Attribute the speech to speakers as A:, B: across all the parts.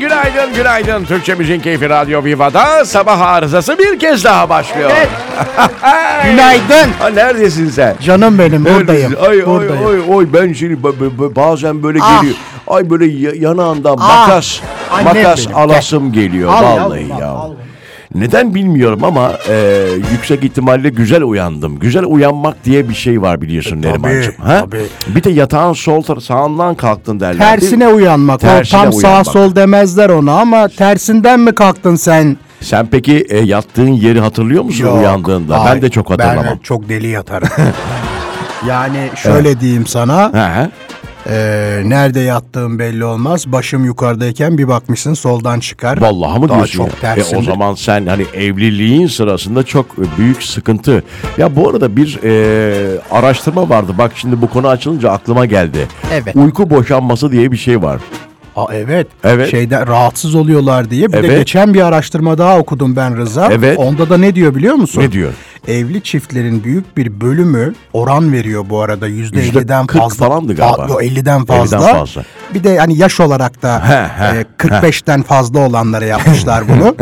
A: Günaydın, günaydın. Türkçe Müziğin Keyfi Radyo Viva'da sabah arızası bir kez daha başlıyor.
B: Evet.
C: Günaydın.
A: Ha, neredesin sen?
C: Canım benim buradayım.
A: Neredesin? Ay, ay,
C: buradayım.
A: ay, ay, ben şimdi ba- ba- ba- bazen böyle
C: Ah.
A: geliyor. Ay böyle ya- yanağından
C: Ah.
A: makas,
C: Annem
A: makas
C: benim.
A: alasım geliyor.
C: Al yavrum,
A: vallahi
C: al,
A: ya.
C: al.
A: Neden bilmiyorum ama e, yüksek ihtimalle güzel uyandım. Güzel uyanmak diye bir şey var biliyorsun Neriman'cığım. Ha?
C: E, tabii.
A: Bir de yatağın sol tar- sağından kalktın derler.
C: Tersine
A: Değil mi?
C: uyanmak.
A: Tersine
C: o tam
A: uyanmak.
C: sağ sol demezler ona ama tersinden mi kalktın sen?
A: Sen peki e, yattığın yeri hatırlıyor musun
C: Yok.
A: uyandığında?
C: Ay,
A: ben de çok hatırlamam.
C: çok deli yatarım. yani şöyle diyeyim sana.
A: Ha, ha.
C: eee, nerede yattığım belli olmaz. Başım yukarıdayken bir bakmışsın soldan çıkar.
A: Vallahi mı
C: Daha
A: diyorsun? ya?
C: çok tersindir.
A: E, o zaman sen hani evliliğin sırasında çok e, büyük sıkıntı. Ya bu arada bir e, araştırma vardı. Bak şimdi bu konu açılınca aklıma geldi.
C: Evet.
A: Uyku boşanması diye bir şey var.
C: Aa, evet.
A: Evet.
C: Şeyden rahatsız oluyorlar diye. Bir de
A: Evet.
C: geçen bir araştırma daha okudum ben Rıza.
A: Evet.
C: Onda da ne diyor biliyor musun?
A: Ne diyor?
C: Evli çiftlerin büyük bir bölümü oran veriyor bu arada. Yüzde
A: Yüzde
C: %50'den
A: 40
C: fazla.
A: falandı galiba.
C: Fa- Yok 50'den fazla.
A: 50'den fazla.
C: Bir de hani yaş olarak da
A: He, he,
C: e, 45'ten fazla olanlara yapmışlar bunu.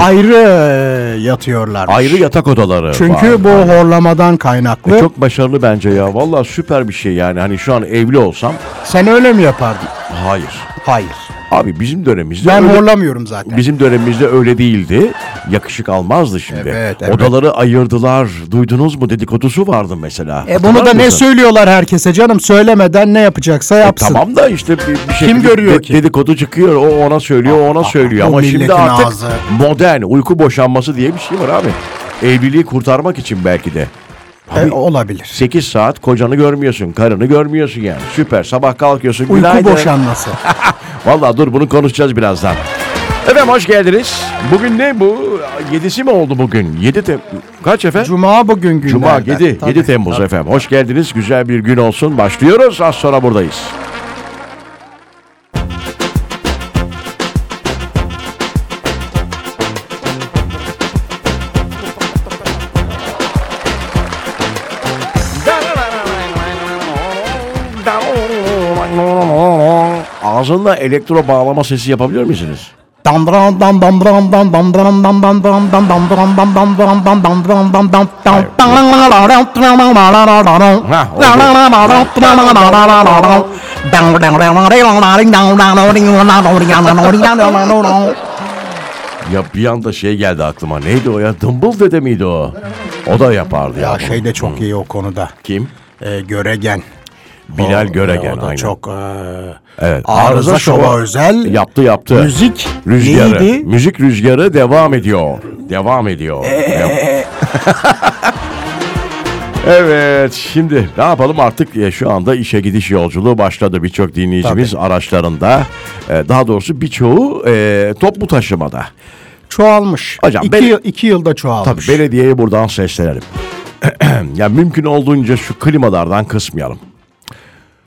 C: Ayrı yatıyorlar.
A: Ayrı yatak odaları.
C: Çünkü
A: var.
C: bu horlamadan kaynaklı.
A: E, çok başarılı bence ya. Vallahi süper bir şey yani. Hani şu an evli olsam
C: Sen öyle mi yapardın?
A: hayır.
C: Hayır.
A: Abi bizim dönemimizde
C: Ben
A: öyle-
C: horlamıyorum zaten.
A: Bizim dönemimizde öyle değildi. Yakışık almazdı şimdi.
C: Evet, evet.
A: Odaları ayırdılar. Duydunuz mu dedikodusu vardı mesela.
C: E
A: Hatırlar
C: bunu da ne
A: mısın?
C: söylüyorlar herkese canım? Söylemeden ne yapacaksa
A: E
C: yapsın.
A: tamam da işte bir, bir şekilde
C: görüyor
A: de-
C: ki? Ah,
A: dedikodu çıkıyor. O ona söylüyor, o ona söylüyor.
C: bu
A: Ama şimdi
C: milletin
A: artık
C: ağzı.
A: modern uyku boşanması diye bir şey var abi. Evliliği kurtarmak için belki de.
C: E, olabilir.
A: 8 saat kocanı görmüyorsun, karını görmüyorsun yani. Süper. Sabah kalkıyorsun.
C: Uyku
A: günaydın.
C: boşanması.
A: Vallahi dur bunu konuşacağız birazdan. Efendim hoş geldiniz. Bugün ne bu? Yedisi mi oldu bugün? Yedi Tem... Kaç efendim?
C: Cuma bugün günlerden.
A: Cuma 7,
C: Tabii.
A: 7 Temmuz efendim. Hoş geldiniz. Güzel bir gün olsun. Başlıyoruz. Az sonra buradayız. Ağzında elektro bağlama sesi yapabiliyor musunuz?
C: Damdram dam damdram dam damdram dam damdram dam damdram dam damdram dam damdram dam dam dam
A: Ha, oldu. Ya bir anda şey geldi aklıma. Neydi o ya? Dımbıl dede miydi o? O da yapardı ya.
C: Ya
A: bunu.
C: şey de çok iyi o konuda.
A: Kim?
C: E, göregen.
A: Bilal
C: O-
A: Göregen.
C: o da
A: aynen.
C: çok e,
A: Evet.
C: arıza şova özel.
A: Yaptı yaptı.
C: Müzik
A: rüzgarı.
C: neydi?
A: Müzik rüzgarı devam ediyor. Devam ediyor.
C: Ee,
A: Dev- evet şimdi ne yapalım artık e, şu anda işe gidiş yolculuğu başladı. Birçok dinleyicimiz araçlarında e, daha doğrusu birçoğu e, toplu taşımada.
C: Çoğalmış.
A: Hocam,
C: iki,
A: ben-
C: yıl- iki yılda
A: Tabii
C: çoğalmış.
A: belediyeye buradan seslenelim. ya mümkün olduğunca şu klimalardan kısmayalım.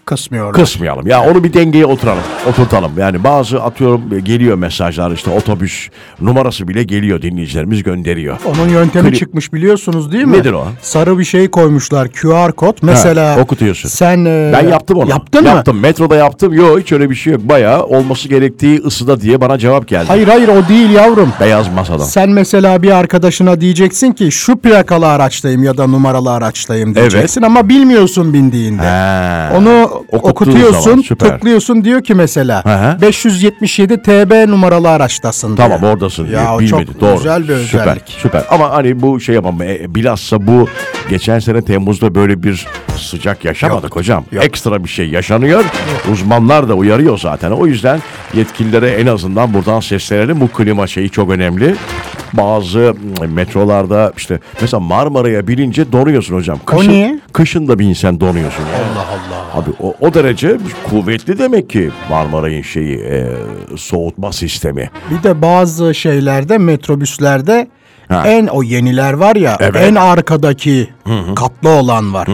C: Kısmıyorum.
A: Kısmayalım. Ya onu bir dengeye oturalım, oturtalım. Yani bazı atıyorum e, geliyor mesajlar işte otobüs numarası bile geliyor dinleyicilerimiz gönderiyor.
C: Onun yöntemi
A: Kli-
C: çıkmış biliyorsunuz değil mi?
A: Nedir o?
C: Sarı bir şey koymuşlar QR kod. Mesela
A: okutuyorsun.
C: Sen e,
A: Ben yaptım onu.
C: Yaptın mı?
A: Yaptım. Metroda yaptım. Yok hiç öyle bir şey yok. Bayağı olması gerektiği ısıda diye bana cevap geldi.
C: Hayır hayır o değil yavrum.
A: Beyaz masadan.
C: Sen mesela bir arkadaşına diyeceksin ki şu plakalı araçtayım ya da numaralı araçtayım diyeceksin ama bilmiyorsun bindiğinde.
A: He.
C: Onu
A: Okuttuğun
C: okutuyorsun,
A: zaman, süper.
C: tıklıyorsun diyor ki mesela
A: Hı hı.
C: 577 TB numaralı araçtasın.
A: Tamam
C: diyor.
A: oradasın.
C: Ya
A: Ya,
C: o
A: Bilmedi.
C: çok
A: Doğru.
C: güzel bir
A: Süper.
C: özellik.
A: Süper. Ama hani bu şey yapamam. E, bilhassa bu geçen sene Temmuz'da böyle bir sıcak yaşamadık hocam. Ekstra bir şey yaşanıyor. Uzmanlar da uyarıyor zaten. O yüzden yetkililere en azından buradan seslenelim. Bu klima şeyi çok önemli. Bazı mm, metrolarda işte mesela Marmara'ya binince donuyorsun hocam. Kışın,
C: niye?
A: Kışın da binsen donuyorsun. Allah Allah. Abi o, o derece kuvvetli demek ki Marmara'nın şeyi e, soğutma sistemi.
C: Bir de bazı şeylerde metrobüslerde
A: Ha.
C: en o yeniler var ya
A: Evet.
C: en arkadaki katlı olan var.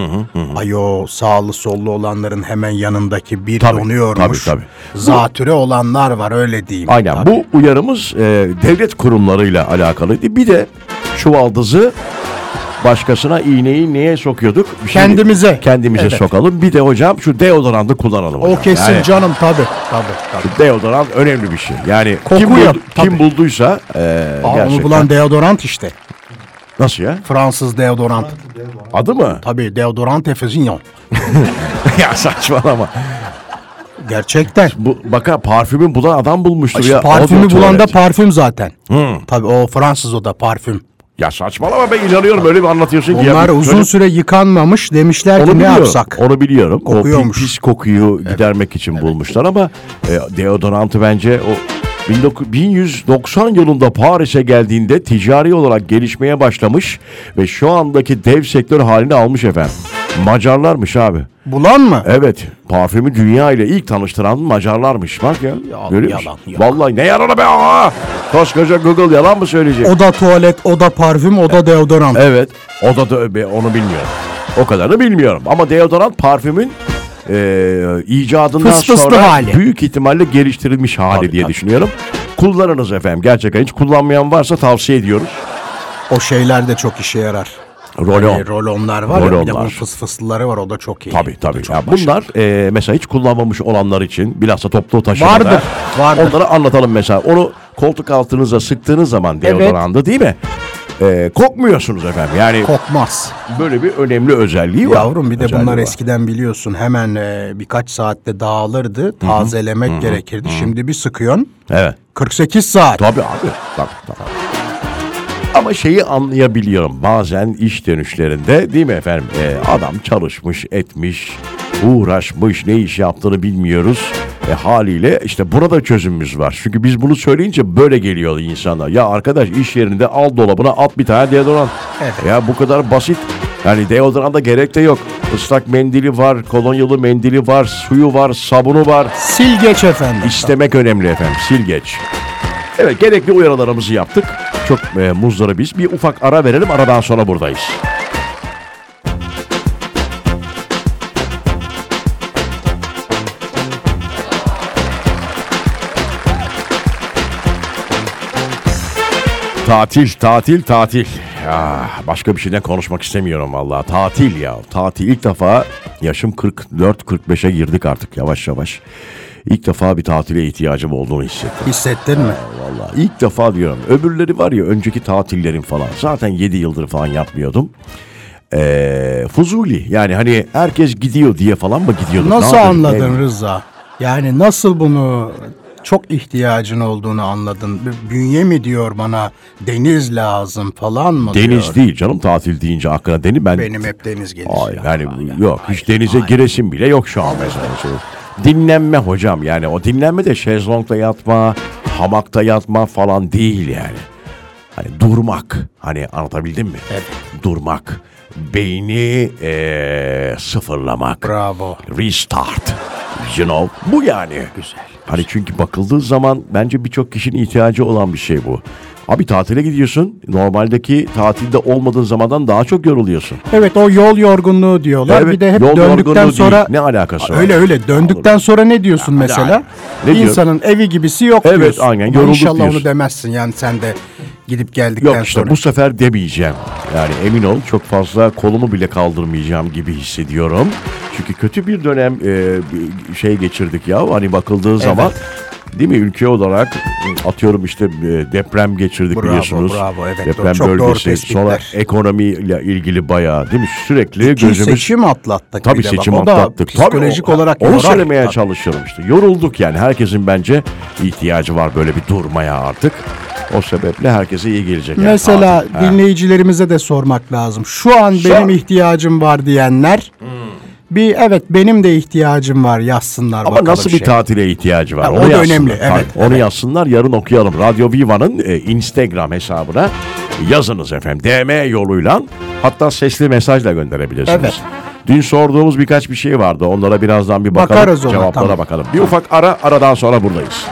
C: Ayo sağlı sollu olanların hemen yanındaki bir
A: Tabii,
C: donuyormuş.
A: tabii,
C: Zatüre olanlar var öyle diyeyim.
A: Aynen bu uyarımız e, devlet kurumlarıyla alakalıydı. Bir de çuvaldızı başkasına iğneyi neye sokuyorduk? Bir şey-
C: Kendimize.
A: Kendimize
C: Evet.
A: sokalım. Bir de hocam şu deodorantı kullanalım hocam.
C: O kesin
A: Yani
C: canım tabii. Tabii tabii.
A: deodorant önemli bir şey. Yani kim,
C: Koku yap,
A: buldu-
C: tabii.
A: kim bulduysa e,
C: Aa,
A: gerçekten.
C: onu bulan deodorant işte.
A: Nasıl ya?
C: Fransız deodorant.
A: Adı mı?
C: Tabii deodorant efezinyon.
A: ya saçmalama.
C: Gerçekten.
A: Bu, baka parfümün bulan adam bulmuştur
C: İşte
A: ya.
C: parfümü
A: Audio
C: bulan da
A: tuvalet.
C: parfüm zaten. Tabii o Fransız o da parfüm.
A: Ya saçmalama ben inanıyorum öyle bir anlatıyorsun ki. ya.
C: Onlar
A: Böyle-
C: uzun süre yıkanmamış demişler ki
A: Onu
C: ne
A: biliyorum.
C: yapsak?
A: Onu biliyorum.
C: Kokuyormuş.
A: O pis kokuyu gidermek için bulmuşlar ama e, deodorantı bence o 19- 1190 yılında Paris'e geldiğinde ticari olarak gelişmeye başlamış ve şu andaki dev sektör halini almış efendim. Macarlarmış abi.
C: Bulan mı?
A: Evet, parfümü dünya ile ilk tanıştıran Macarlarmış. Bak ya.
C: Ya-
A: görüyor
C: yalan,
A: musun?
C: yok.
A: Vallahi ne yalanı be aa! Koskoca Google yalan mı söyleyecek?
C: O da tuvalet, o da parfüm, o da deodorant.
A: Evet. O da dövbe onu bilmiyorum. O kadarını bilmiyorum. Ama deodorant parfümün e, icadından
C: Fıs fıslı
A: sonra
C: hali.
A: büyük ihtimalle geliştirilmiş hali
C: Tabii,
A: diye
C: tabii.
A: düşünüyorum. Kullanınız efendim. Gerçekten hiç kullanmayan varsa tavsiye ediyoruz.
C: O şeyler de çok işe yarar.
A: Rolon.
C: Ee, rolonlar var ya bir de bunun
A: Rolonlar.
C: fıs fıslıları var o da çok iyi.
A: Tabii tabii.
C: çok
A: Ya bunlar e, mesela hiç kullanmamış olanlar için bilhassa toplu taşımada.
C: Vardır, vardır.
A: Onları anlatalım mesela. Onu koltuk altınıza sıktığınız zaman
C: Evet.
A: deodoranda değil mi? E, kokmuyorsunuz efendim. Yani
C: Kokmaz.
A: böyle bir önemli özelliği var.
C: Yavrum bir de
A: Özelliği
C: bunlar
A: var.
C: eskiden biliyorsun hemen e, birkaç saatte dağılırdı. Tazelemek gerekirdi. Şimdi bir sıkıyorsun
A: Evet.
C: 48 saat.
A: Tabii abi. Tabii, tabii. Ama şeyi anlayabiliyorum. Bazen iş dönüşlerinde değil mi efendim? Ee, adam çalışmış, etmiş, uğraşmış, ne iş yaptığını bilmiyoruz. E, haliyle işte burada çözümümüz var. Çünkü biz bunu söyleyince böyle geliyor insanlar. Ya arkadaş iş yerinde al dolabına at bir tane deodorant.
C: Evet.
A: Ya bu kadar basit. Yani deodoranta gerek de yok. Islak mendili var, kolonyalı mendili var, suyu var, sabunu var.
C: Sil geç efendim.
A: İstemek önemli efendim. Silgeç. Evet gerekli uyarılarımızı yaptık. Çok e, muzları biz. Bir ufak ara verelim. Aradan sonra buradayız. Tatil, tatil, tatil. Ya, başka bir şeyden konuşmak istemiyorum vallahi. Tatil ya. Tatil ilk defa yaşım 44-45'e girdik artık yavaş yavaş. İlk defa bir tatile ihtiyacım olduğunu hissettim.
C: Hissettin mi?
A: Vallahi ilk defa diyorum. Öbürleri var ya önceki tatillerim falan. Zaten 7 yıldır falan yapmıyordum. Ee, fuzuli yani hani herkes gidiyor diye falan mı gidiyorduk? Ne
C: Nasıl
A: yapıyorduk?
C: anladın
A: Ne-
C: Rıza? Yani nasıl bunu çok ihtiyacın olduğunu anladın. Bir Bünye mi diyor bana deniz lazım falan mı
A: Deniz
C: diyor.
A: değil canım tatil deyince aklına deniz. Ben
C: Benim hep deniz gelir.
A: Hayır yani yok hiç denize giresim bile yok şu an mesela. Şu Dinlenme hocam yani o dinlenme de şezlongda yatma, hamakta yatma falan değil yani. Hani durmak hani anlatabildim mi?
C: Evet.
A: Durmak, beyni eee, sıfırlamak.
C: Bravo.
A: Restart. You know. Bu yani. Güzel. Hani çünkü bakıldığı zaman bence birçok kişinin ihtiyacı olan bir şey bu. Abi tatile gidiyorsun. Normaldeki tatilde olmadığın zamandan daha çok yoruluyorsun.
C: Evet o yol yorgunluğu diyorlar.
A: Evet,
C: bir de hep
A: yol yorgunluğu
C: döndükten
A: değil.
C: sonra
A: Ne alakası var?
C: Öyle öyle döndükten sonra ne diyorsun mesela?
A: Ne diyorum?
C: İnsanın evi gibisi yok
A: Evet,
C: diyorsun.
A: aynen,
C: Ama
A: yorulduk
C: İnşallah
A: diyorsun.
C: onu demezsin yani sen de gidip geldikten
A: Yok işte
C: sonra.
A: bu sefer demeyeceğim. Yani emin ol çok fazla kolumu bile kaldırmayacağım gibi hissediyorum. Çünkü kötü bir dönem e, bir şey geçirdik ya hani bakıldığı zaman. Değil mi ülke olarak atıyorum işte e, deprem geçirdik
C: Bravo,
A: biliyorsunuz.
C: bravo, evet.
A: Deprem
C: Çok doğru
A: bölgesi
C: tespitler.
A: sonra ekonomiyle ilgili bayağı değil mi sürekli
C: İki
A: gözümüz
C: seçim atlattık.
A: Tabii
C: bir de bak.
A: seçim
C: O da
A: atlattık. Tabii
C: Psikolojik
A: o-
C: olarak
A: onu
C: yorar.
A: söylemeye
C: Tabii.
A: çalışıyorum işte. Yorulduk yani. Herkesin bence ihtiyacı var böyle bir durmaya artık. O sebeple herkese iyi gelecek. yani
C: Mesela
A: tatil. Ha.
C: dinleyicilerimize de sormak lazım. Şu an
A: Şu
C: benim
A: an- Hmm.
C: ihtiyacım var diyenler bir evet benim de ihtiyacım var yazsınlar
A: Ama
C: bakalım
A: nasıl bir
C: şey.
A: tatile ihtiyacı var?
C: Ha,
A: onu
C: o da
A: yazsınlar.
C: önemli,
A: Tabii,
C: evet,
A: Onu yazsınlar yarın okuyalım. Radyo Viva'nın e, Instagram hesabına yazınız efendim. DM yoluyla hatta sesli mesajla gönderebilirsiniz.
C: Evet.
A: Dün sorduğumuz birkaç bir şey vardı. Onlara birazdan bir bakalım.
C: Bakarız ona,
A: Cevaplara
C: tamam.
A: bakalım. Bir ufak ara aradan sonra buradayız.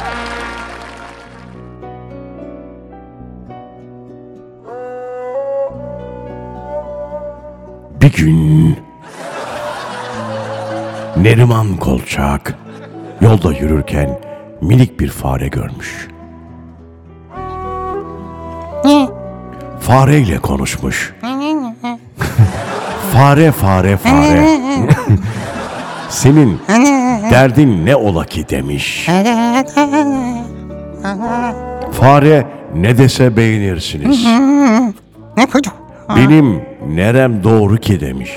A: Bir gün Neriman Kolçak yolda yürürken minik bir fare görmüş. Fareyle konuşmuş. Fare fare fare. Senin derdin ne ola ki demiş. Fare ne dese beğenirsiniz.
C: Ne koyduk?
A: Benim nerem doğru ki demiş.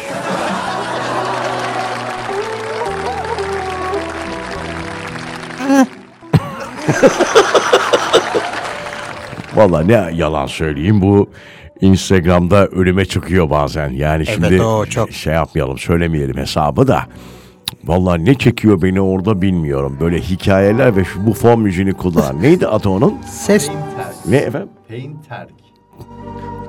A: Valla ne yalan söyleyeyim bu Instagram'da ölüme çıkıyor bazen. Yani şimdi
C: o çok.
A: şey yapmayalım söylemeyelim hesabı da. Valla ne çekiyor beni orada bilmiyorum. Böyle hikayeler ve şu bu fon müziğini kullanan. Neydi adı onun?
C: Ses
A: Ne efendim?
B: Painterk.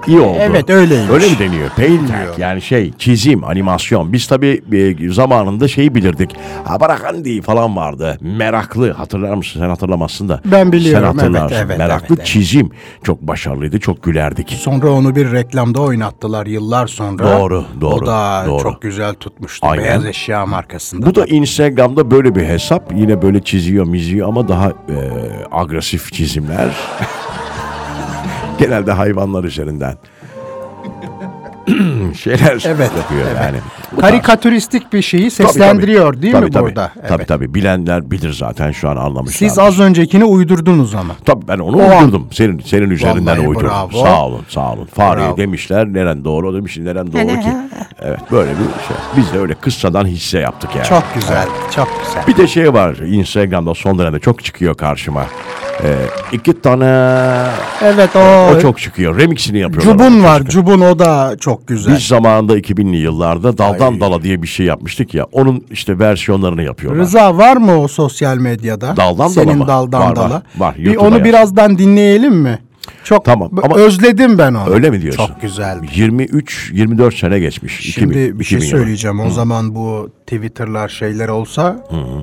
A: İyi oldu.
C: Evet, öyleymiş.
A: Öyle mi deniyor? Painting yani şey çizim, animasyon. Biz tabii e, zamanında şeyi bilirdik. Habarakandi falan vardı. Meraklı hatırlar mısın? Sen hatırlamazsın da.
C: Ben biliyorum,
A: Sen hatırlarsın.
C: evet, evet,
A: Meraklı
C: evet, evet.
A: çizim. Çok başarılıydı, çok gülerdik.
C: sonra onu bir reklamda oynattılar yıllar sonra.
A: Doğru, doğru,
C: O da
A: doğru.
C: çok güzel tutmuştu
A: Aynen.
C: beyaz eşya markasında.
A: Bu da Instagram'da böyle bir hesap. Yine böyle çiziyor, miziyor ama daha e, agresif çizimler. Genelde hayvanlar üzerinden. şeyler
C: Evet,
A: yapıyor yani. Bu tarz-
C: Karikatüristik bir şeyi
A: Tabii,
C: seslendiriyor
A: tabii.
C: değil
A: Tabii,
C: mi
A: tabii.
C: burada?
A: Tabii
C: Evet.
A: tabii. Bilenler bilir zaten şu an anlamışlar.
C: Siz az öncekini uydurdunuz ama.
A: Tabii ben onu
C: O an-
A: uydurdum. Senin senin üzerinden
C: Vallahi
A: uydurdum.
C: bravo.
A: Sağ olun, sağ olun. Fareye
C: Bravo.
A: demişler neren doğru demiş, neren doğru ki. Evet böyle bir şey. Biz de öyle kıssadan hisse yaptık yani.
C: Çok güzel, çok güzel.
A: Bir de şey var Instagram'da son dönemde çok çıkıyor karşıma. Ee, iki tane
C: Evet o,
A: o çok çıkıyor. Remixini yapıyorlar.
C: Cubun var, Cubun o da çok güzel.
A: Biz zamanında 2000'li yıllarda daldan dala diye bir şey yapmıştık ya. Onun işte versiyonlarını yapıyorlar.
C: Rıza var mı o sosyal medyada?
A: Daldan dala
C: Senin
A: mı?
C: daldan
A: Var, var,
C: dala.
A: var,
C: Bir
A: YouTube'a
C: onu
A: yaz.
C: birazdan dinleyelim mi? Çok
A: Tamam,
C: b-
A: ama-
C: özledim ben onu.
A: Öyle mi diyorsun?
C: Çok güzel.
A: 23 24 sene geçmiş.
C: Şimdi
A: 2000,
C: bir şey
A: 2000 yılı.
C: söyleyeceğim. O zaman bu Twitter'lar şeyler olsa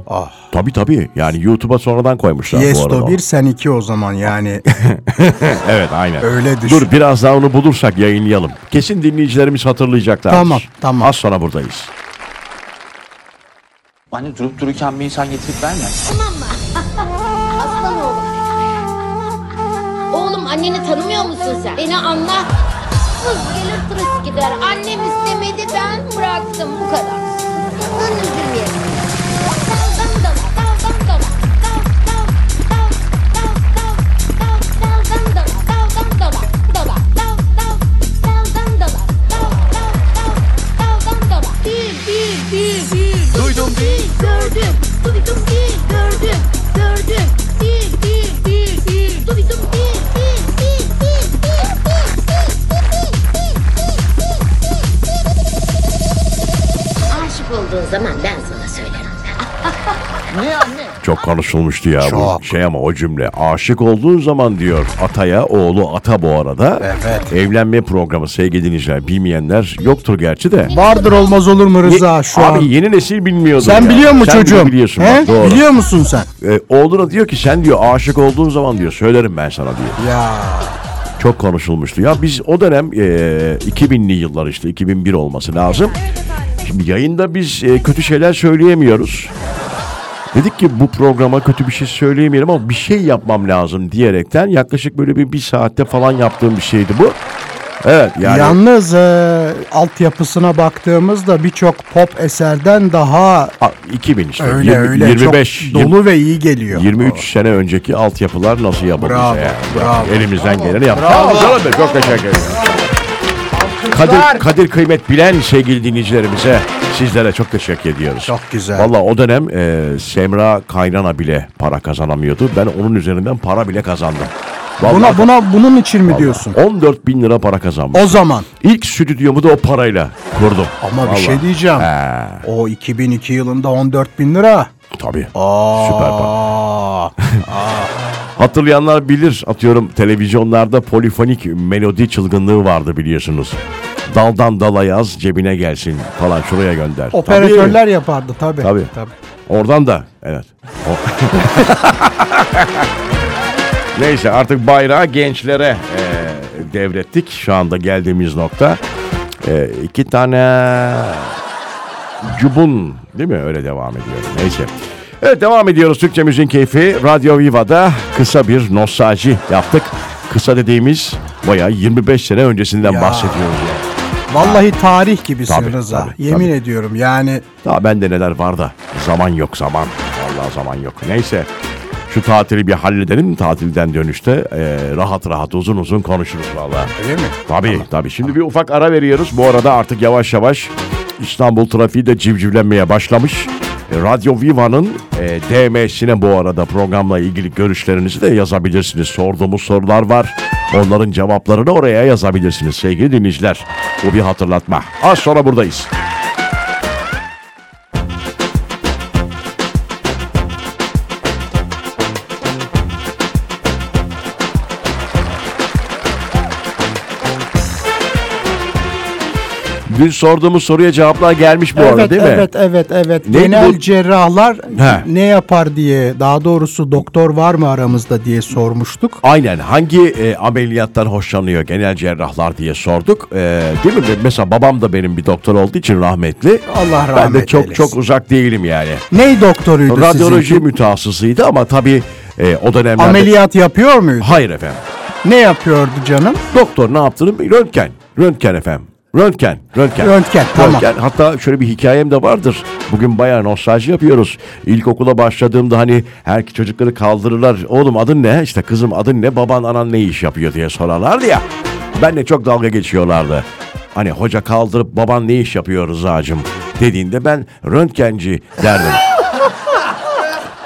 C: ah
A: Tabii tabii. Yani YouTube'a sonradan koymuşlar bu arada.
C: Yesto 1 sen 2 o zaman yani
A: Evet aynen.
C: Öyle düşün.
A: Dur biraz daha onu bulursak yayınlayalım. Kesin dinleyicilerimiz hatırlayacaklar.
C: Tamam, tamam.
A: Az sonra buradayız.
D: Anne durup dururken bir insan getirip vermez.
E: Aslan oğlum. Oğlum anneni tanımıyor musun sen? Beni anla. Kız gelir tırıs gider. Annem istemedi ben bıraktım bu kadar. Ben üzülmeyelim. Daldan dala, daldan dala. Dal, dal, dal, dal, dal, dal, daldan dala, daldan dala, dala, dal, dal, daldan dala, dal, dal, dal, daldan dala. Bil, bil, bil, bil. Duydum, bil, gördüm. Duydum, bil, gördüm, gördüm. Bil, bil, bil, bil. Duydum, bil, bil, bil, bil, bil, bil, bil, bil, bil, bil, bil. Aşık olduğun zaman ben sana söylerim.
A: Çok konuşulmuştu ya
C: Çok.
A: bu şey ama o cümle. Aşık olduğu zaman diyor ataya, oğlu ata bu arada.
C: Evet.
A: Evlenme programı sevgili dinleyiciler bilmeyenler yoktur gerçi de.
C: vardır olmaz olur mu Rıza şu
A: Abi
C: an?
A: yeni nesil bilmiyordu.
C: Sen
A: ya.
C: biliyor musun
A: Sen bile
C: çocuğum?
A: Biliyorsun
C: He?
A: bak, doğru.
C: Biliyor musun sen?
A: Ee, oğluna diyor ki sen diyor aşık olduğun zaman diyor söylerim ben sana diyor.
C: Ya
A: Çok konuşulmuştu. Ya biz o dönem e, 2000'li yıllar işte 2001 olması lazım. Şimdi yayında biz e, kötü şeyler söyleyemiyoruz. Dedik ki bu programa kötü bir şey söyleyemeyelim ama bir şey yapmam lazım diyerekten yaklaşık böyle bir, bir saatte falan yaptığım bir şeydi bu. Evet yani
C: yalnız e, altyapısına baktığımızda birçok pop eserden daha
A: a, 2000 işte
C: öyle
A: 20
C: öyle
A: 25
C: çok dolu ve iyi geliyor.
A: 23 sene önceki altyapılar nasıl yapılmış?
C: Bravo, bravo.
A: Elimizden geleni yaptık. Bravo, canım benim, Çok teşekkür ederim. Kadir, Kadir kıymet bilen sevgili dinleyicilerimize sizlere çok teşekkür ediyoruz.
C: Çok güzel.
A: Valla o dönem e, Semra Kaynana bile para kazanamıyordu. Ben onun üzerinden para bile kazandım. Vallahi
C: Buna buna bunun için mi diyorsun?
A: 14 bin lira para kazandım.
C: O zaman
A: İlk stüdyomu da o parayla kurdum.
C: ama bir
A: Vallahi.
C: şey diyeceğim.
A: He,
C: O 2002 yılında 14 bin lira.
A: tabii.
C: Aa,
A: Süper para. Hatırlayanlar bilir atıyorum televizyonlarda polifonik melodi çılgınlığı vardı biliyorsunuz. Daldan dala yaz cebine gelsin falan şuraya gönder.
C: Operatörler yapardı tabii.
A: Tabii. Oradan da evet. O- Neyse artık bayrağı gençlere e, devrettik şu anda geldiğimiz nokta. E, iki tane cubun değil mi öyle devam ediyor. Neyse. Evet devam ediyoruz Türkçe Müziğin Keyfi. Radyo Viva'da kısa bir nostalji yaptık. Kısa dediğimiz bayağı 25 sene öncesinden bahsediyoruz. yani.
C: Vallahi tarih gibisin
A: Tabii,
C: Rıza.
A: tabii,
C: Yemin
A: tabii.
C: ediyorum yani
A: Daha bende neler var da zaman yok zaman. Vallahi zaman yok. Neyse şu tatili bir halledelim. Tatilden dönüşte eee, rahat rahat uzun uzun konuşuruz vallahi.
C: öyle mi?
A: Tabii tabii. Şimdi bir ufak ara veriyoruz. Bu arada artık yavaş yavaş İstanbul trafiği de civcivlenmeye başlamış. E, Radyo Viva'nın e, DM'sine bu arada programla ilgili görüşlerinizi de yazabilirsiniz. Sorduğumuz sorular var. Onların cevaplarını oraya yazabilirsiniz sevgili dinleyiciler. Bu bir hatırlatma. Az sonra buradayız. Dün sorduğumuz soruya cevaplar gelmiş bu arada
C: Evet,
A: değil mi?
C: evet, evet, evet.
A: Neydi
C: Genel
A: bu?
C: cerrahlar
A: He.
C: ne yapar diye, daha doğrusu doktor var mı aramızda diye sormuştuk.
A: Aynen hangi e, ameliyattan hoşlanıyor genel cerrahlar diye sorduk. E, değil mi? Mesela babam da benim bir doktor olduğu için rahmetli.
C: Allah rahmet
A: Ben de çok
C: eylesin.
A: çok uzak değilim yani.
C: Ney doktoruydu
A: Radyoloji
C: sizinki?
A: mütehassısıydı ama tabii e, o dönemlerde...
C: Ameliyat yapıyor muydu?
A: Hayır efendim.
C: Ne yapıyordu canım?
A: Doktor ne yaptığını bil- röntgen. Röntgen efendim. Röntgen, röntgen.
C: Röntgen, tamam.
A: Hatta şöyle bir hikayem de vardır. Bugün bayağı nostalji yapıyoruz. İlkokula başladığımda hani her çocukları kaldırırlar. Oğlum adın ne? İşte kızım adın ne? Baban anan ne iş yapıyor diye sorarlardı ya. Benle çok dalga geçiyorlardı. Hani hoca kaldırıp baban ne iş yapıyor Rıza'cığım dediğinde ben röntgenci derdim.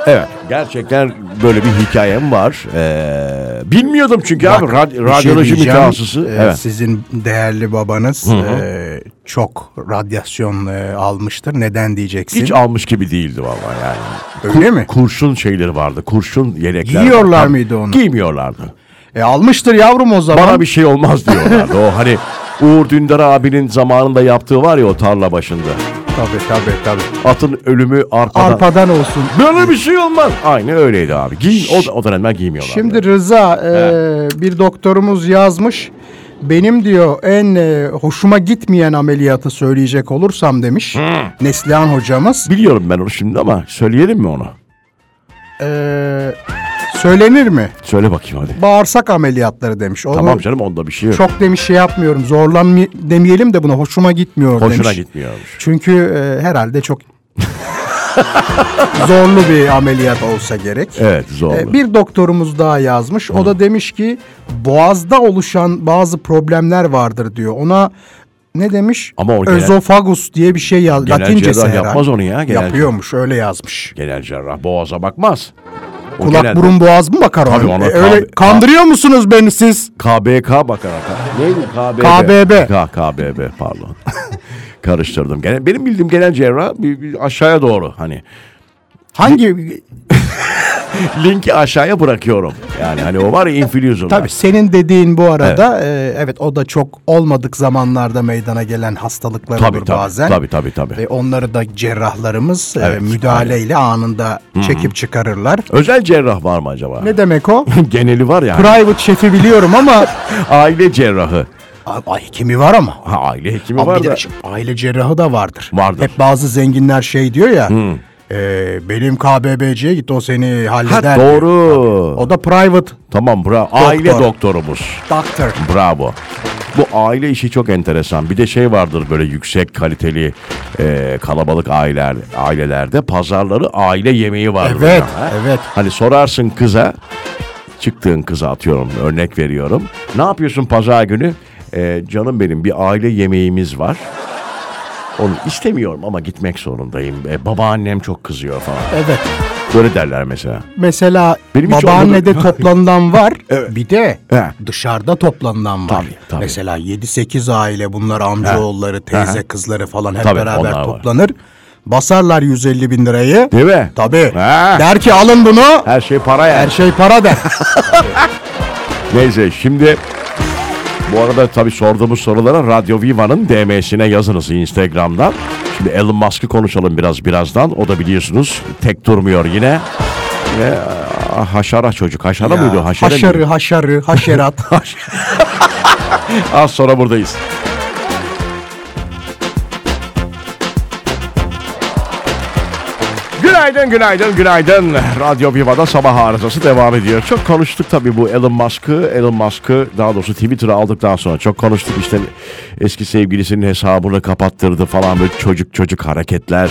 A: Evet gerçekten böyle bir hikayem var. Ee, bilmiyordum çünkü abi
C: Bak,
A: rad-
C: bir şey
A: radyoloji
C: diyeceğim.
A: mütehassısı.
C: Ee,
A: evet.
C: Sizin değerli babanız e, çok radyasyon e, almıştır. Neden diyeceksin?
A: Hiç almış gibi değildi vallahi yani.
C: Öyle mi?
A: Kurşun şeyleri vardı. Kurşun yelekler.
C: Giyiyorlar
A: vardı.
C: mıydı onu?
A: Giymiyorlardı.
C: E, almıştır yavrum o zaman.
A: Bana bir şey olmaz diyorlardı. o hani Uğur Dündar abinin zamanında yaptığı var ya o tarla başında.
C: Tabii tabii tabii.
A: Atın ölümü arpadan.
C: Arpadan olsun.
A: Böyle bir şey olmaz. Aynı öyleydi abi. Giyin, o, o dönemler giymiyorlardı.
C: Şimdi Rıza e, bir doktorumuz yazmış. Benim diyor en e, hoşuma gitmeyen ameliyatı söyleyecek olursam demiş. Neslihan hocamız.
A: Biliyorum ben onu şimdi ama söyleyelim mi onu?
C: E, söylenir mi?
A: Söyle bakayım hadi.
C: Bağırsak ameliyatları demiş. Onu
A: Tamam canım onda bir şey yok.
C: Çok demiş şey yapmıyorum. Zorlanmi demeyelim de buna hoşuma gitmiyor
A: Hoşuna
C: demiş.
A: gitmiyormuş.
C: Çünkü e, herhalde çok zorlu bir ameliyat olsa gerek.
A: Evet zorlu.
C: E, Bir doktorumuz daha yazmış. O da demiş ki boğazda oluşan bazı problemler vardır diyor. Ona ne demiş?
A: Ama o genel-
C: Özofagus diye bir şey yaz.
A: Genel
C: Latincesi
A: cerrah
C: herhalde.
A: yapmaz onu ya, genel-
C: Yapıyormuş öyle yazmış.
A: Genel cerrah boğaza bakmaz. O
C: Kulak
A: genel-
C: burun boğaz mı bakar
A: Tabii
C: ona?
A: ona
C: E, öyle
A: tabi-
C: kandırıyor musunuz beni siz?
A: KBK bakar atar. Neydi KBB?
C: KBB.
A: K, KBB pardon. Karıştırdım. Gene, benim bildiğim genel cerrah bir, bir aşağıya doğru hani.
C: Hangi
A: Linki aşağıya bırakıyorum. Yani hani o var ya infülyüzum.
C: Tabii senin dediğin bu arada evet. evet o da çok olmadık zamanlarda meydana gelen hastalıklar
A: Tabii,
C: olur
A: tabii,
C: bazen.
A: tabii, tabii, tabii.
C: Ve onları da cerrahlarımız e,
A: Evet,
C: müdahaleyle anında çekip çıkarırlar.
A: Özel cerrah var mı acaba?
C: Ne demek o?
A: Geneli var ya. hani,
C: Private şefi biliyorum ama
A: aile cerrahı.
C: A- ay hekimi var ama.
A: Ha, aile hekimi
C: Ama
A: var
C: bir de
A: da.
C: şimdi aile cerrahı da vardır.
A: Vardır.
C: Hep bazı zenginler şey diyor ya. e, benim KBBC'ye git o seni
A: Ha,
C: halleder. diyor.
A: doğru.
C: O da private
A: Tamam bravo. Aile
C: Doktor.
A: doktorumuz.
C: doctor.
A: Bravo. Bu aile işi çok enteresan. Bir de şey vardır böyle yüksek kaliteli e, kalabalık aileler ailelerde pazarları aile yemeği vardır.
C: Evet,
A: hocam, ha?
C: evet.
A: Hani sorarsın kıza, çıktığın kıza atıyorum örnek veriyorum. Ne yapıyorsun pazar günü? E, canım benim bir aile yemeğimiz var. Onu istemiyorum ama gitmek zorundayım. E, babaannem çok kızıyor falan.
C: Evet.
A: Böyle derler mesela.
C: Mesela
A: Benim hiç
C: babaannede
A: olmadı.
C: toplanılan var. Bir de
A: He.
C: dışarıda toplanılan var.
A: Tabii, tabii.
C: Mesela 7-8 aile bunlar amcaoğulları, teyze kızları falan hep
A: Tabii, onlar
C: beraber
A: var.
C: toplanır. Basarlar 150 bin lirayı.
A: Değil mi?
C: Tabii.
A: He.
C: Der ki alın bunu.
A: Her şey para yani.
C: Her şey para der.
A: Neyse şimdi bu arada tabii sorduğumuz sorulara Radyo Viva'nın DM'sine yazınız Instagram'dan. Şimdi Elon Musk'ı konuşalım biraz birazdan. O da biliyorsunuz tek durmuyor yine. Ve, ah, haşara çocuk. Haşara
C: Ya,
A: mıydı? o? Haşere
C: haşarı,
A: miydi?
C: haşarı, haşerat.
A: Az sonra buradayız. Günaydın. Günaydın, günaydın, günaydın. Radyo Viva'da sabah arızası devam ediyor. Çok konuştuk tabii bu Elon Musk'ı. Elon Musk'ı daha doğrusu Twitter'ı aldıktan sonra çok konuştuk. İşte eski sevgilisinin hesabını kapattırdı falan böyle çocuk çocuk hareketler.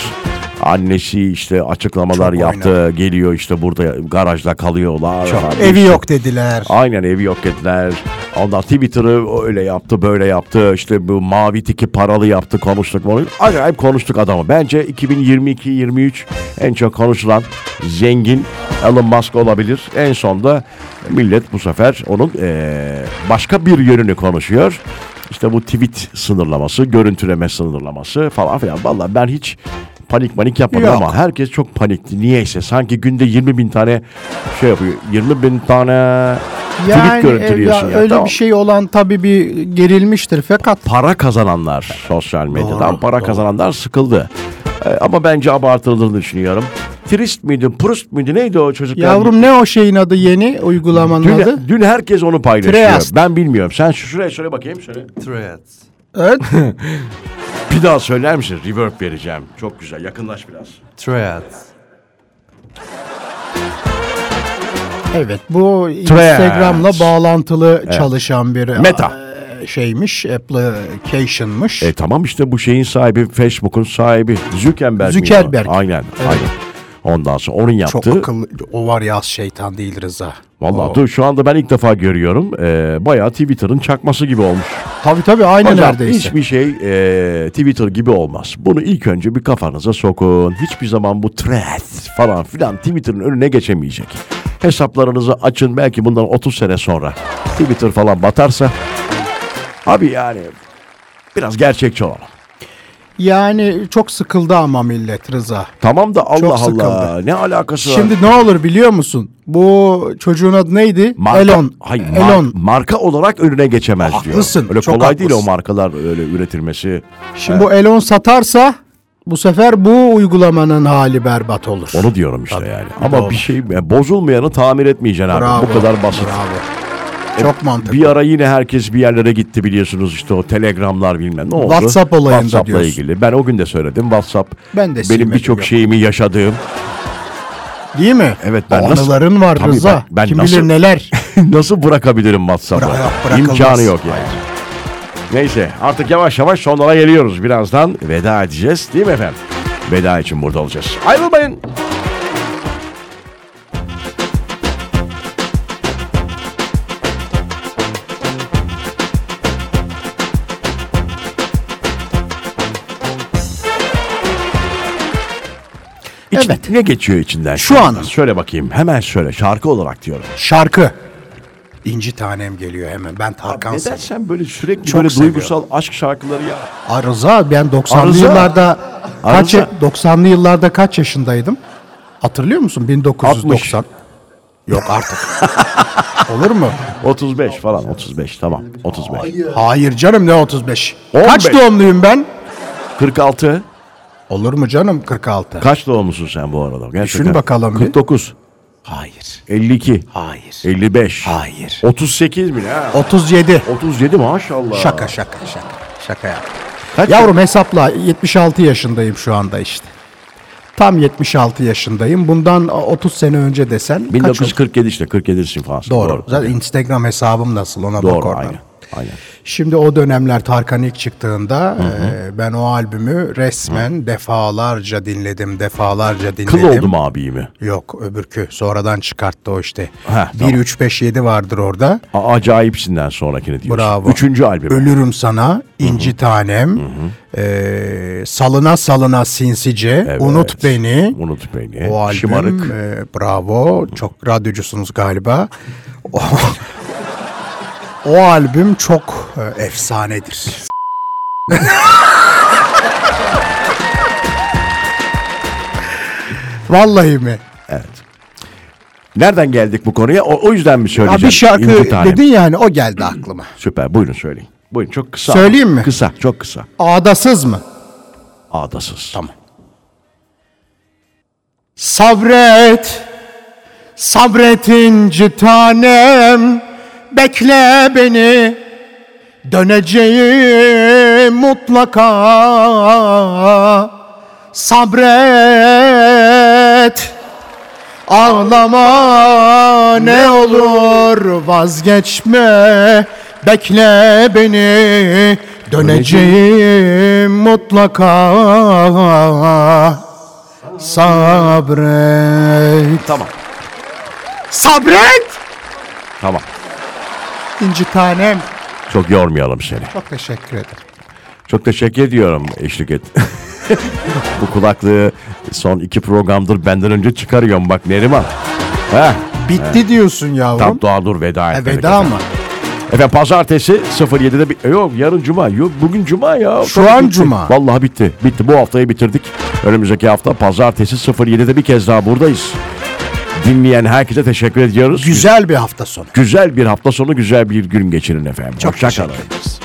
A: Annesi işte açıklamalar
C: Çok
A: yaptı. Geliyor işte burada garajda kalıyorlar. Hani
C: Çok.
A: Abi
C: Evi
A: işte-
C: yok dediler.
A: Aynen evi yok ettiler. Ondan Twitter'ı öyle yaptı böyle yaptı. İşte bu mavi tiki paralı yaptı konuştuk. bunu. Acayip konuştuk adamı. Bence 2022-23 en çok konuşulan zengin Elon Musk olabilir. En sonda millet bu sefer onun eee, başka bir yönünü konuşuyor. İşte bu tweet sınırlaması, görüntüleme sınırlaması falan filan. Vallahi ben hiç panik manik yapmadım
C: Yok.
A: ama herkes çok panikti. Niyeyse sanki günde 20 bin tane şey yapıyor. 20 bin tane tweet görüntülüyorsun
C: e,
A: ya.
C: ya öyle
A: Tamam.
C: bir şey olan tabii bir gerilmiştir fakat
A: Para kazananlar sosyal medyadan para kazananlar sıkıldı. Ee, ama bence abartıldığını düşünüyorum. Trist miydi, Proust muydu neydi o çocuklar?
C: yavrum ne o şeyin adı yeni uygulamanın adı?
A: dün, dün herkes onu paylaşıyor.
C: Trieste.
A: Ben bilmiyorum. Sen şu şuraya söyle bakayım. Söyle.
B: Threads.
C: Evet.
A: Bir daha söyler misin? Reverb vereceğim. Çok güzel. Yakınlaş biraz.
B: Threads.
C: evet bu
A: Threads.
C: Instagram'la bağlantılı çalışan bir
A: Meta.
C: e, şeymiş, application'mış.
A: E tamam işte bu şeyin sahibi Facebook'un sahibi Zuckerberg. miydi o?
C: Zuckerberg.
A: Aynen. Aynen. Ondan sonra onun yaptığı.
C: Çok akıllı. O var ya az şeytan değil Rıza.
A: Vallahi dur şu anda ben ilk defa görüyorum. Ee, bayağı Twitter'ın çakması gibi olmuş.
C: Tabii tabii aynı
A: Hocam
C: neredeyse.
A: hiçbir şey e, Twitter gibi olmaz. Bunu ilk önce bir kafanıza sokun. Hiçbir zaman bu thread falan filan Twitter'ın önüne geçemeyecek. Hesaplarınızı açın belki bundan 30 sene sonra. Twitter falan batarsa. Abi yani biraz gerçekçi olalım.
C: Yani çok sıkıldı ama millet Rıza.
A: Tamam da Allah
C: Çok sıkıldı.
A: Allah ne alakası var?
C: Şimdi ne olur biliyor musun? Bu çocuğun adı neydi?
A: Marka,
C: Elon.
A: Hayır, mar-
C: Elon.
A: marka olarak önüne geçemez diyor.
C: Haklısın,
A: Öyle
C: çok
A: kolay değil o
C: haklısın.
A: markalar öyle üretilmesi.
C: Şimdi bu Elon satarsa bu sefer bu uygulamanın hali berbat olur.
A: Onu diyorum işte
C: Tabii,
A: yani. Ama
C: doğru.
A: bir şey yani bozulmayanı tamir etmeyeceksin abi.
C: Bravo,
A: Bu kadar basit. E,
C: Bravo. Çok mantıklı.
A: Bir ara yine herkes bir yerlere gitti biliyorsunuz işte o telegramlar bilmem ne oldu.
C: WhatsApp olayında
A: WhatsApp'la
C: diyorsun.
A: ilgili. Ben o gün de söyledim WhatsApp.
C: Ben de silmedim,
A: Benim birçok
C: yok.
A: şeyimi yaşadığım.
C: Değil mi?
A: Evet, ben
C: O
A: nasıl-
C: Anıların var
A: Tabii
C: Rıza.
A: ben- ben
C: Kim
A: nasıl-
C: bilir neler.
A: Nasıl bırakabilirim WhatsApp'ı?
C: Bırak- bırakılmaz.
A: İmkanı yok yani. Neyse artık yavaş yavaş sonlara geliyoruz. Birazdan veda edeceğiz değil mi efendim? Veda için burada olacağız. Ayrılmayın. İç-
C: Evet.
A: Ne geçiyor içinden?
C: Şu
A: şimdi?
C: an.
A: Söyle bakayım. Hemen söyle. Şarkı olarak diyorum.
C: Şarkı. İnci tanem geliyor hemen. Ben Tarkan
A: Neden
C: severim.
A: sen böyle sürekli
C: Çok
A: böyle
C: seviyorum.
A: duygusal aşk şarkıları ya?
C: Aa, Rıza ben 90'lı
A: Arıza.
C: yıllarda kaç
A: Arıza.
C: 90'lı yıllarda kaç yaşındaydım? Hatırlıyor musun? 1990. Yok artık. Olur mu?
A: 35 falan 35 tamam 35.
C: Hayır canım ne 35.
A: 15.
C: Kaç doğumluyum ben?
A: 46
C: Olur mu canım 46?
A: kaç doğumlusun sen bu arada? Gerçekten.
C: Düşün bakalım bir.
A: 49
B: Hayır.
A: 52
B: Hayır.
A: 55
B: Hayır.
A: 38 mi ne? ha?
C: 37.
A: 37 maşallah.
C: Şaka şaka şaka. Şaka yap.
A: Kaç
C: Yavrum hesapla 76 yaşındayım şu anda işte. Tam 76 yaşındayım. Bundan 30 sene önce desen kaç olur?
A: 1947 işte 47'sin falan.
C: Doğru. Zaten Instagram hesabım nasıl ona bak
A: Doğru
C: oradan.
A: aynen. Aynen.
C: Şimdi o dönemler Tarkan ilk çıktığında e, ben o albümü resmen defalarca dinledim, defalarca dinledim.
A: Kıl oldum abimi.
C: Yok öbürkü sonradan çıkarttı o işte.
A: Heh,
C: 1
A: tamam.
C: 3 5 7 vardır orada.
A: A- acayipsinden sonrakini diyorsun.
C: Bravo.
A: Üçüncü albüm.
C: Ölürüm sana, inci tanem, e, salına salına sinsice, unut beni.
A: Unut beni.
C: O albüm
A: Şımarık.
C: e, bravo. Çok radyocusunuz galiba. O, o albüm çok e, efsanedir. Vallahi mi?
A: Nereden geldik bu konuya? O, o yüzden mi
C: Ya
A: söyleyeceğim?
C: bir şarkı
A: İnci tanem.
C: dedin yani o geldi aklıma.
A: Süper. Buyurun söyleyin. Buyurun çok kısa.
C: Söyleyeyim mi?
A: Kısa, çok kısa.
C: Ağdasız mı?
A: Ağdasız. Tamam.
C: Sabret, sabret inci tanem, bekle beni, döneceğim mutlaka. Sabret, et. Ağlama ne olur vazgeçme bekle beni döneceğim mutlaka sabret
A: Tamam.
C: sabret
A: Tamam.
C: İnci tanem
A: Çok yormayalım seni.
C: çok teşekkür ederim.
A: Çok teşekkür ediyorum eşlik et. Bu kulaklığı son iki programdır benden önce çıkarıyorum bak Neriman. Heh,
C: Bitti diyorsun yavrum.
A: tam daha dur veda et.
C: E, veda mı?
A: Efendim pazartesi 07'de bir... Yok yarın cuma. Yok bugün cuma ya.
C: Şu
A: Tabii
C: an
A: bitti.
C: cuma.
A: Vallahi bitti. Bitti. Bu haftayı bitirdik. Önümüzdeki hafta pazartesi 07'de bir kez daha buradayız. Dinleyen herkese teşekkür ediyoruz.
C: Güzel bir hafta sonu.
A: Güzel bir hafta sonu, güzel bir gün geçirin efendim. Hoşça kalın.
C: teşekkür ederiz.